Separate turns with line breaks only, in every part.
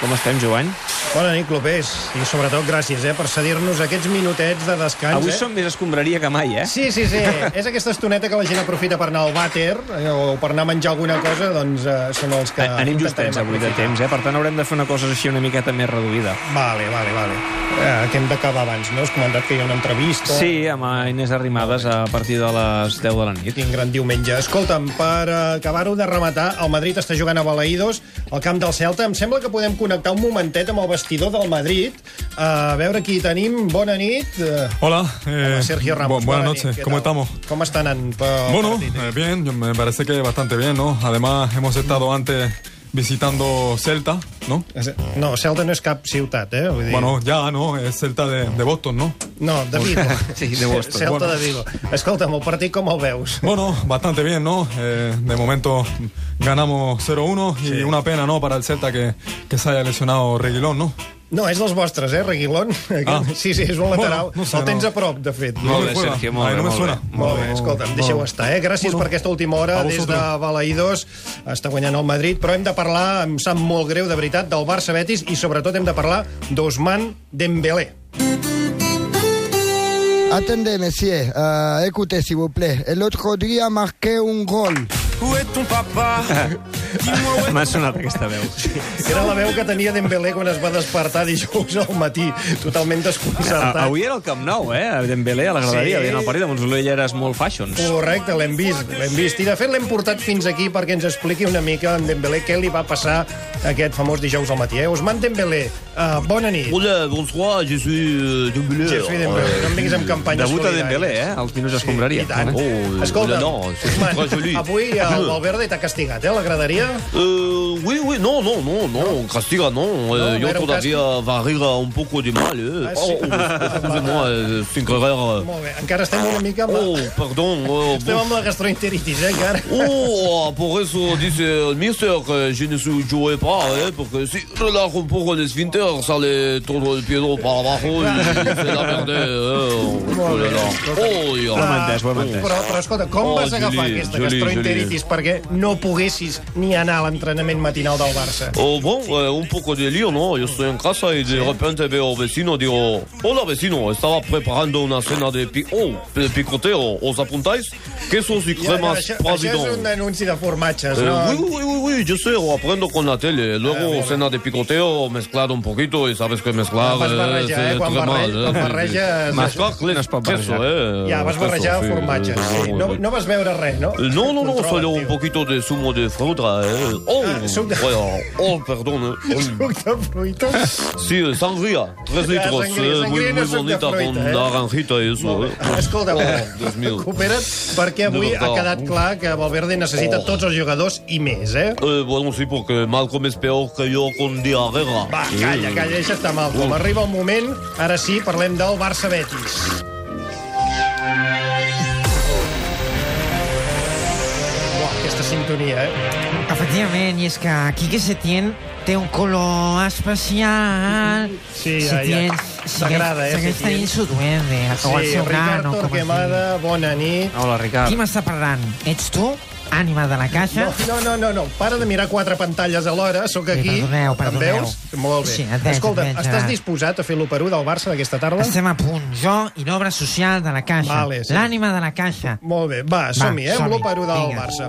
Com estem, Joan?
Bona nit, clubers. I sobretot gràcies eh, per cedir-nos aquests minutets de descans.
Avui
eh?
som més escombraria que mai, eh?
Sí, sí, sí. És aquesta estoneta que la gent aprofita per anar al vàter eh, o per anar a menjar alguna cosa, doncs eh, són els que...
A- Anem
intentarem
justets avui de
aprofitar.
temps, eh? Per tant, haurem de fer una cosa així una miqueta més reduïda.
Vale, vale, vale. Eh, que hem d'acabar abans, no? Has comentat que hi ha una entrevista.
Sí, amb Inés Arrimadas a partir de les 10 de la nit.
Quin gran diumenge. Escolta'm, per eh, acabar-ho de rematar, el Madrid està jugant a Balaïdos, al camp del Celta. Em sembla que podem connectar un momentet amb el vestidor del Madrid. Eh, A veure qui hi tenim. Bona nit. Eh,
Hola, eh,
Sergio Ramos.
bu- buenas
Bona nit,
noches,
què tal?
¿cómo estamos?
¿Cómo están? en- pel
Bueno,
partit?
eh, bien, yo- me parece que bastante bien, ¿no? Además, hemos
Mm.
estado antes visitando Celta, ¿no?
No, Celta no és cap ciutat, eh? Vull dir...
Bueno, ya, ¿no? Es Celta de, de Boston, ¿no?
No, de Vigo.
Sí, de Boston.
Celta
Bueno.
de Vigo. Escolta'm, el partit com el veus?
Bueno, bastante bien, ¿no? Eh, de momento ganamos 0-1 y una pena, ¿no? Para el Celta que, que se haya lesionado Reguilón, ¿no?
No, és dels vostres, eh, Reguilón?
Ah.
Sí, sí, és un lateral.
Bueno, no sé,
el tens
no.
a prop, de fet.
No
Molt
me
bé,
suena.
Sergio, molt
Ay,
bé,
no me
molt
suena.
bé.
Molt bé, escolta'm, deixeu estar, eh? Gràcies
Bueno,
per aquesta última hora
a
des de
vosaltres.
Balaïdos. Està guanyant el Madrid, però hem de parlar, em sap molt greu, de veritat, del Barça-Betis i sobretot hem de parlar d'Osman Dembélé.
Attendez, messieurs, euh, écoutez s'il vous plaît. Et L'autre dia a marqué un goal.
Où est ton papa Dis-moi où est
M'ha sonat aquesta veu.
Era la veu que tenia Dembélé quan es va despertar dijous al matí, totalment desconcertat.
A, avui era el Camp Nou, eh? A Dembélé, a la graderia,
Sí.
sí. el partit de Montsolell eres molt fashions.
Correcte, l'hem vist, l'hem vist. I de fet l'hem portat fins aquí perquè ens expliqui una mica en Dembélé què li va passar aquest famós dijous al matí. Eh? Osman Dembélé, uh, bona nit.
Hola, bonsoir, je suis euh, Dembélé.
Sí, sí, Dembélé, no em vinguis amb campanyes
Debut a
solidàries.
Dembélé, eh? Els minuts
I
escombraria.
tant.
Oh,
Escolta,
no, no, c'est
Osman,
très joli.
avui el Valverde t'ha castigat, eh, la graderia?
Euh, oui, oui, non, non, non, non, Castiga, non.
Non,
Euh,
mais
yo
alors,
todavía va rire un poco de mal. Euh.
Ah, si.
oh, oh, excusez-moi, euh, c'est une erreur.
Molt bé, encara estem una mica amb la...
Oh, pardon. euh,
Estem
bon-
amb la gastroenteritis, eh, encara.
Oh, pour eso dice el euh, mister que je ne suis joué pas, eh, porque si relajo un poco el esfínter, sale todo el piedro para abajo y se la merde. Eh, oh, là, là.
Ah,
oh, ya.
Ho hem entès, ho hem entès.
Però, però escolta, com
Oh,
vas agafar
Juli,
aquesta
Juli,
gastroenteritis perquè no poguessis ni anar a l'entrenament matinal del Barça?
Oh, bon, eh, un poco de lío, ¿no? Yo estoy en casa y de repente veo vecino, digo, hola vecino, estaba preparando una cena de, pi- oh, de picoteo, ¿os apuntáis? Quesos y
Ja, ja,
cremas
això, això
pravidon.
és un anunci de formatges,
Eh,
no?
oui, oui, oui, oui, oui, yo sé, o aprendo con la tele.
Ah,
Luego cena de picoteo, mezclado un poquito, y sabes que mezclar.
Vas
eh,
barrejar,
se
eh, quan
trema,
barre-
eh,
quan
sí, sí.
barreges-
Mezclar
No es pot
queso,
barrejar.
eh,
Ja, vas
queso,
barrejar
sí,
formatges.
eh,
Sí. No, no vas veure res, no?
Eh, No, no, no,
Controla,
solo
tio.
un poquito de zumo de fruta. Eh. Oh,
Ah, suc de-
bueno, oh, perdón. eh. Oh,
Suc de fruita.
Sí, eh, sangría, tres
Ya,
litros,
sangría,
eh,
sangría
muy,
no
muy
es suc de
bonita
fruta,
con
eh.
naranjita y eso. eh.
Escolta,
Oh, Dios mío.
recupera't, perquè avui
De
ha
veritat.
quedat clar que Valverde necessita
Oh.
tots els jugadors i més, eh?
Eh, bueno, sí, porque Malcolm es peor que yo con diarrea.
Va, calla,
Mm.
calla, deixa estar mal. Com arriba el moment, ara sí, parlem del Barça-Betis. Buah, aquesta sintonia, eh?
Efectivament, i és que Quique Setién té un color especial.
Sí, ja, ja.
Setién
T'agrada, eh,
Segueix
Setién?
tenint su duende, o el
Sí,
seu nano,
Ricardo
com es digui.
Torquemada, bona nit.
Hola,
Qui
Ricard.
m'està parlant? Ets tu? Ànima de la caixa?
No, no, no, no, no. Para de mirar quatre pantalles alhora, sóc
Sí,
aquí.
perdoneu, perdoneu.
Em veus? Molt bé.
Sí, et veig,
Escolta,
et veig,
estàs
Gerard.
disposat a fer l'operú del Barça d'aquesta tarda?
Estem a punt. Jo i l'obra social de la caixa.
Vale, sí.
L'ànima de la caixa.
Molt bé, va, som-hi, eh? Som
som-hi.
l'operú del
Vinga.
Barça.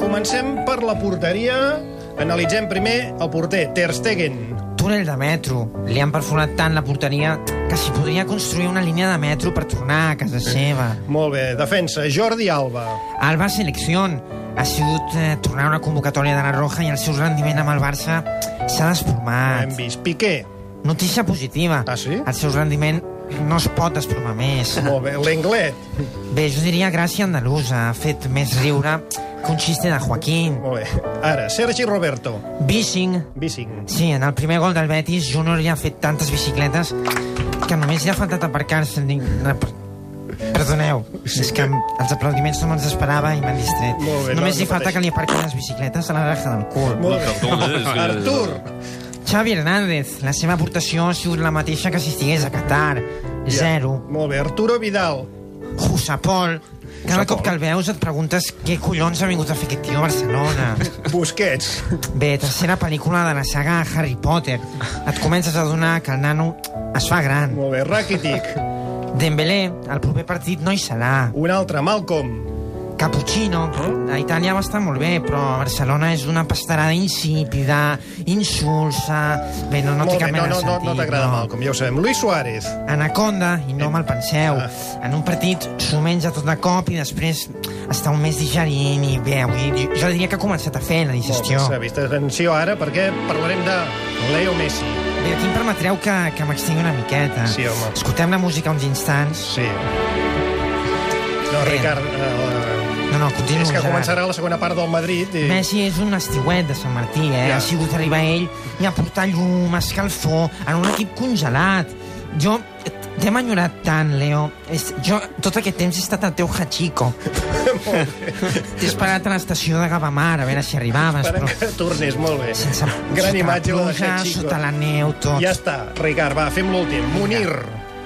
Comencem per la porteria. Analitzem primer el porter, Ter Stegen.
Túnel de metro. Li han perforat tant la porteria que s'hi podria construir una línia de metro per tornar a casa seva.
Molt bé, defensa, Jordi Alba.
Alba Selecció ha sigut eh, tornar a una convocatòria de la Roja i el seu rendiment amb el Barça s'ha
Hem
desplomat.
vist Piqué.
Notícia positiva.
Ah, sí?
El seu rendiment no es pot desplomar més.
Molt bé, l'Englet.
Bé, jo diria gràcia andalusa. Ha fet més riure que un xiste de Joaquín.
Molt bé. Ara, Sergi Roberto.
Bishing.
Bissing.
Sí, en el primer gol del Betis, Junior ja ha fet tantes bicicletes que només li ha faltat aparcar-se. Ni- per- Perdoneu, és que els aplaudiments no me'ls esperava i m'han distret.
Molt bé, no,
només
no
li falta
pateixis.
que li aparquin les bicicletes a la raja del cul.
Molt bé.
Perdón, eh, sí.
Artur.
Xavi Hernández, la seva aportació ha sigut la mateixa que si estigués a Qatar. Zero.
Molt bé, Arturo Vidal.
Jusapol, Cada cop que el veus et preguntes què collons ha vingut a fer aquest tio a Barcelona.
Busquets.
Bé, tercera pel·lícula de la saga Harry Potter. Et comences a donar que el nano es fa gran.
Molt bé, Rakitic.
Dembélé, el proper partit no hi serà.
Un altre, Malcolm.
Cappuccino, a Itàlia va estar molt bé, però a Barcelona és una pastarada insípida, insulsa... Bé, no, no té
Molt
cap
bé, no,
mena de
no, no,
sentit.
no t'agrada Malcolm, ja ho sabem. Luis Suárez.
Anaconda, i no me'l penseu.
Ah.
En un partit s'ho menja tot de cop i després està un mes digerint i bé, avui di- jo diria que ha començat a fer la digestió.
S'ha vist atenció ara perquè parlarem de Leo Messi.
Bé, aquí em permetreu que, que m'extingui una miqueta.
Sí, home.
Escoltem la música uns instants.
Sí. No,
Bé.
Ricard, eh,
No, no, continuo,
és que
Gerard.
començarà la segona part del Madrid i...
Messi és un estiuet de Sant Martí, eh?
Ja.
Ha sigut arribar ell i aportar llum, escalfor, en un equip congelat. Jo t'hem enyorat tant, Leo. És, jo tot aquest temps he estat al teu hachico. T'he esperat a l'estació de Gavamar a veure si arribaves,
Espera
però...
que tornis, molt bé.
Sense,
Gran
sota
imatge
la
la de
pluja,
Hachiko.
sota la neu, tot.
Ja està, Ricard, va, fem l'últim. Munir.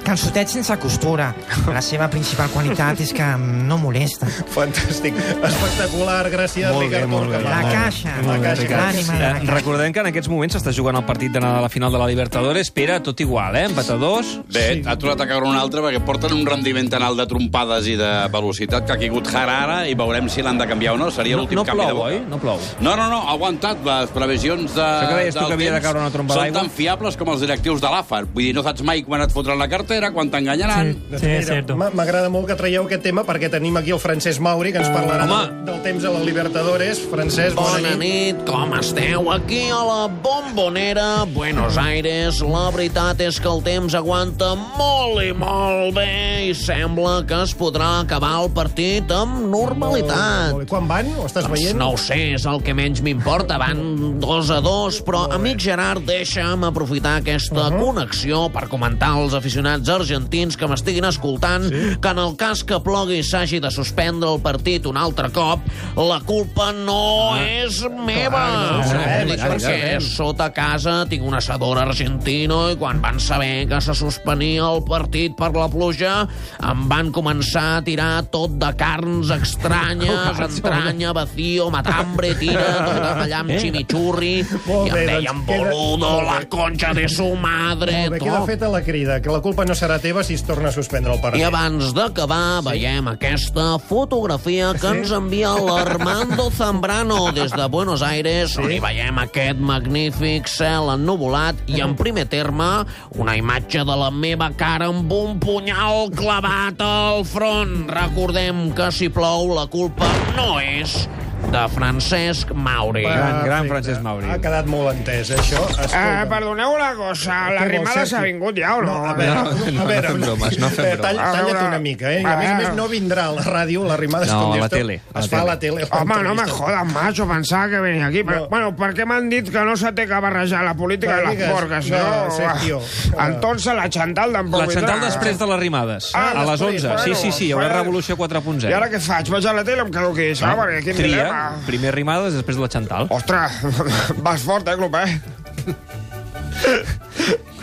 Calçotet sense costura. La seva principal qualitat és que no molesta.
Fantàstic. Espectacular, gràcies,
Molt bé,
Ricard
molt bé.
Torca.
La
molt bé.
caixa,
Molt bé, Ricard.
l'ànima de la
Eh,
caixa.
recordem que en aquests moments s'està jugant el partit de la final de la Libertadores. Pere, tot igual, eh? Empatadors.
Bé, ha tornat a caure un altre perquè porten un rendiment tan alt de trompades i de velocitat que ha caigut Harara i veurem si l'han de canviar o no. Seria
No,
l'últim
no
canvi de
plou,
boca.
oi? No plou.
No, no, no, ha aguantat. Les previsions de,
Això que deies tu
del
que havia de
temps
caure una tromba
són
d'aigua.
tan fiables com els directius de l'AFAR. Vull dir, no saps mai quan et fotran la cartera, quan t'enganyaran... Sí.
Sí, es
Doncs Mira,
cierto.
m'a- M'agrada molt que traieu aquest tema perquè tenim aquí el Francesc Mauri que ens parlarà
Home.
del, del temps a la Libertadores. Francesc, bona,
Bona
nit.
nit, com esteu? Aquí a la Bombonera, Buenos Aires. La veritat és que el temps aguanta molt i molt bé i sembla que es podrà acabar el partit amb normalitat.
Molt bé. Quan van? Ho estàs
Doncs
veient?
no ho sé, és el que menys m'importa. Van dos a dos, però, amic Gerard, deixa'm aprofitar aquesta
Uh-huh.
connexió per comentar als aficionats argentins que m'estiguin escoltant que en el cas que plogui i s'hagi de suspendre el partit un altre cop, la culpa no és meva.
Ah. no ho sabem,
Ho dic
això ho
Perquè
sabem.
sota casa tinc un assador argentino i quan van saber que se suspenia el partit per la pluja, em van començar a tirar tot de carns estranyes, entranya, vacío, matambre, tira, tot allà amb chimichurri,
Eh? Molt
i
bé,
em deien,
doncs queda-
boludo,
molt
la
bé.
concha de su madre,
Molt bé, queda
tot.
feta la crida, que la culpa no serà teva si es torna a suspendre el
I
partit.
abans d'acabar, sí. veiem aquesta fotografia que ens envia l'Armando Zambrano des de Buenos Aires, sí. on hi veiem aquest magnífic cel ennuvolat i, en primer terme, una imatge de la meva cara amb un punyal clavat al front. Recordem que si plou la culpa no és de Francesc Mauri.
Perfecte.
Gran, gran Francesc Mauri.
Ha quedat molt entès, eh, això. Escolta.
Eh, perdoneu una cosa,
Què vols,
l'arrimada
Sergi?
s'ha vingut ja o no?
A veure,
No, no,
a veure,
no fem bromes, no fem
eh, tall,
bromes.
Talla't
A veure,
una mica, eh? A
va.
més, a més, no vindrà a la ràdio, la rimada
No, a la tele, a la
Es fa a la
tele.
tele.
Home, no me
l'entrevista.
jodas, macho, pensava que venia aquí. Però,
No.
Bueno, per què m'han dit que no se té que barrejar la política i les
Barrigues,
porques,
no,
no?
Sergio.
Entonces la Chantal tampoc
La
hi
Chantal
traga.
després de les rimades.
Ah,
a les
després,
11. Sí,
bueno,
sí, sí, hi haurà
bueno.
Revolució 4.0.
I ara què faig? Vaig a la tele i em quedo aquí,
Ah,
saps? Perquè quin Oh.
Tria,
dilema.
primer rimades, després la Chantal.
Ostres, vas fort, eh, club, eh?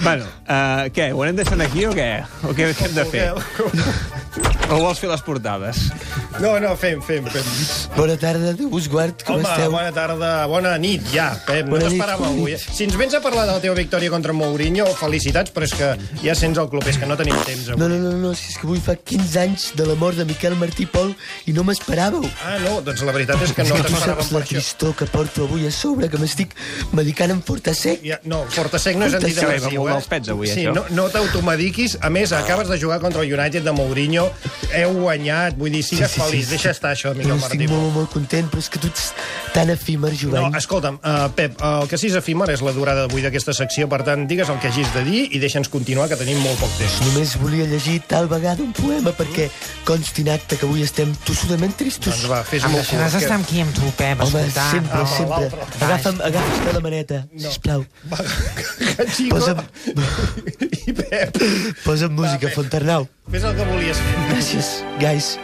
Bueno, uh, què, ho anem deixant aquí o què? O què hem de fer? O vols fer les portades?
No, no, fem, fem, fem.
Bona tarda, us guard, com
Home,
esteu?
bona tarda, bona nit, ja. Pep, no
Bona nit.
t'esperava avui. eh? Si ens vens a parlar de la teva victòria contra Mourinho, felicitats, però és que ja sents el club, és que no tenim temps
No,
avui.
no, no, no, si és que avui fa 15 anys de la mort de Miquel Martí i Pol i no m'esperàveu.
Ah, no, doncs la veritat és que no
És tu
t'esperàvem
saps
per
la
això.
tristor que porto avui a sobre, que m'estic medicant amb forta sec.
Ja, no, Fortasec no és
Fortasec.
Sí,
antidepressiu, eh?
va molt dels pets, avui,
sí,
això.
No, no t'automediquis. A més, acabes de jugar contra el United de Mourinho, heu guanyat, vull dir, sigues sí, sí, feliç. Sí. Deixa estar això, Miquel
No, estic
Martí.
molt, molt, molt content, però és que tu ets tan efímer,
No,
Jovany.
escolta'm, uh, Pep, uh, el que sí és efímer és la durada d'avui d'aquesta secció, per tant, digues el que hagis de dir i deixa'ns continuar, que tenim molt poc temps.
Només volia llegir tal vegada un poema perquè consti en acte que avui estem tossudament tristos.
Mm. Doncs va, fes
Em
molt
deixaràs estar
curt.
amb qui em tu, Pep,
Home,
escoltant.
sempre,
Ah,
sempre.
l'altre.
Agafa'm, agafa'm de la maneta, sisplau.
Que... que Xico
Posa'm,
i Pep.
posa'm música,
bé.
Fonternau.
Fes el que volies fer.
Gràcies, guys.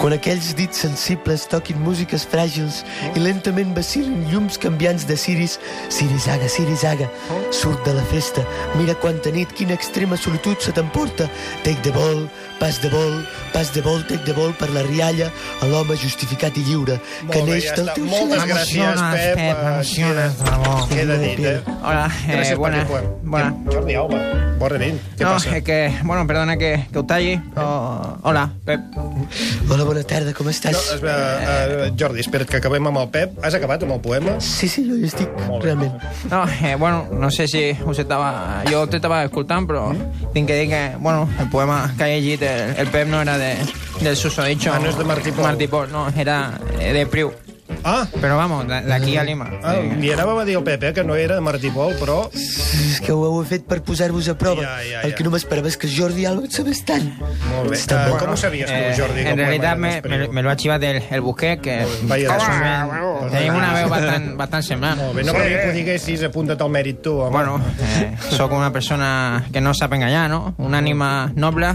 Quan aquells dits sensibles toquin músiques fràgils i lentament vacilin llums canviants de ciris, Sirizaga, Sirizaga, surt de la festa, mira quanta nit, quina extrema solitud se t'emporta. Tec de vol, pas de vol, pas de vol, tec de vol per la rialla a l'home justificat i lliure, que
Molt bé,
neix
ja
del
està.
teu
Moltes
Pues
cinisme.
gràcies, Pep. Emociones,
bravo.
Queda dit, eh?
Hola, eh,
Gràcies per
buena,
aquest poema.
buena.
Jordi Alba, bona nit. Què
no,
passa?
es que, bueno, perdona que, que os
¿Eh?
talle. Oh, hola, Pep.
Hola, bona tarda, com
No,
estàs?
es, eh, eh, Jordi, espera't que acabem amb el Pep. Has acabat amb el poema?
Sí, sí, jo hi estic, realment.
No, eh, bueno, no sé si us estava... Jo t'estava escoltant, però
¿Eh?
tinc que dir que, bueno, el poema que he llegit, el, el Pep no era de, del susodicho.
Ah, no és de Martí Pou.
Martí Pou, no, era eh, de Priu.
Ah!
Però vamos, de, de aquí a Lima. Eh,
Ah, li anàvem a dir al Pep, eh, que no era de Martí Pol, però...
És que ho heu fet per posar-vos a prova. Ja, ja, ja. El que no m'esperava és que Jordi Alba et sabés tant.
Molt bé.
Està
Eh,
bo.
com ho sabies tu, Jordi?
en realidad me, me, me lo ha chivat el, el Busquets, que...
Vaya
que
desastre.
sovint
bueno.
Tenim una veu bastant, bastant semblant.
Molt bé, no calia que ho diguessis, apunta't al mèrit tu, home.
Bueno, eh, sóc una persona que no sap enganyar, no? Una ànima noble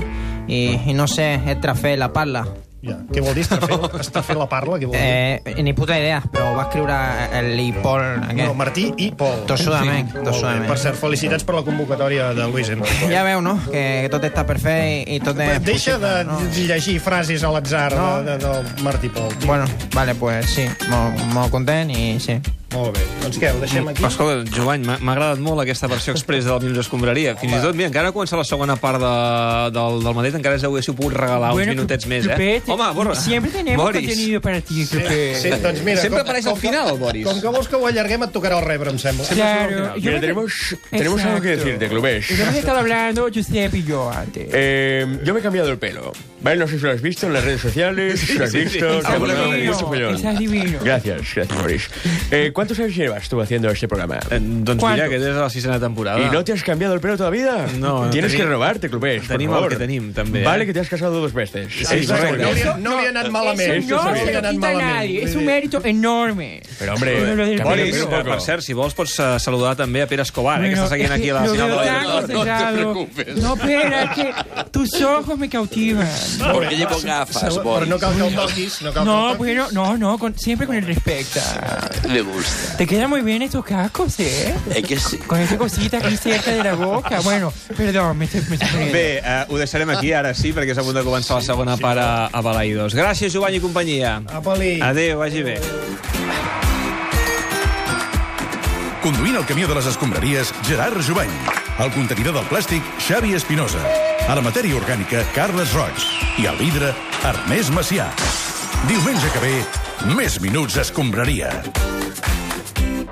i, i no sé estrafer la parla.
Ja. Què vol dir estrafer, estrafer la parla? Què vol dir?
Eh, ni puta idea, però ho va escriure el Ipol aquest.
No, Martí i Pol.
eh. Tossudament, tossudament.
Per cert, felicitats per la convocatòria de Luis Enrique.
Ja veu, no?, que, que tot està per fer i, i tot és...
Deixa
possible,
de
no?
llegir frases a l'atzar
No.
de, de, del Martí Pol.
Bueno, vale, pues sí, molt, molt content i sí.
Molt bé, doncs què, ho deixem aquí?
Però escolta, Jovany, m'ha m'ha agradat molt aquesta versió express del Minuts Escombraria. Fins i tot, mira, encara comença la segona part de, del, del Madrid, encara us hauríeu pogut regalar uns
Bueno,
minutets més, eh?
Cropet,
Home, borra.
siempre tenemos contenido para ti, Cropet.
Sí, doncs mira,
Sempre
com-
apareix al
com que-
final, el Boris.
Com que vols que ho allarguem, et tocarà el rebre, em sembla.
Sempre Claro, surt al final. yo creo que- Exacto. Lo hemos estado hablando Giuseppe y yo antes.
Eh, yo me he cambiado el pelo. ¿Vale? No sé si lo has visto en las redes sociales, si lo has
sí, sí.
visto.
Estás
Bueno,
divino,
mucho follón.
estás divino.
Gracias, gracias, Boris. Eh, ¿Cuántos años llevas tú haciendo este programa?
Doncs mira, que des de la sisena temporada.
¿Y no te has cambiado el pelo todavía?
No, no
Tienes
tenim-
que robarte, clubes.
tenim
por
el
favor.
que tenim, també, eh?
Vale, que te has casado dos veces.
Sí, correcte.
muy bien.
No, no li ha anat
Eh,
malament.
Eso no se lo quita a nadie. Es un mérito enorme.
Però,
Lo del pelo.
Boris, eh, per cert, si vols pots eh, saludar també a Pere Escobar, eh, que
Bueno,
està seguint aquí a la
lo
final de
veo
la
tan
jornada.
aconsejado. No, espera, es que tus ojos me cautivan.
Perquè lle ponga gafas,
Però
Boris.
no cal que el toquis, no cal que el
No,
toquis.
bueno, no, no, con- siempre con el respeto.
Me gusta.
Te quedan muy bien estos cascos, ¿eh?
Es que sí.
Con esta cosita aquí cerca de la boca. Bueno, perdón, me estoy, me estoy poniendo.
Bé, eh, ho deixarem aquí ara sí, perquè és a punt de començar la segona part a, a Balaïdos. Gràcies, Jovany i companyia.
Apa-li.
Adéu, vagi bé.
Conduint el camió de les escombraries, Gerard Jubany. El contenidor del plàstic, Xavi Espinosa. A la matèria orgànica, Carles Roig. I al vidre, Ernest Macià. Diumenge que ve, més minuts escombraria.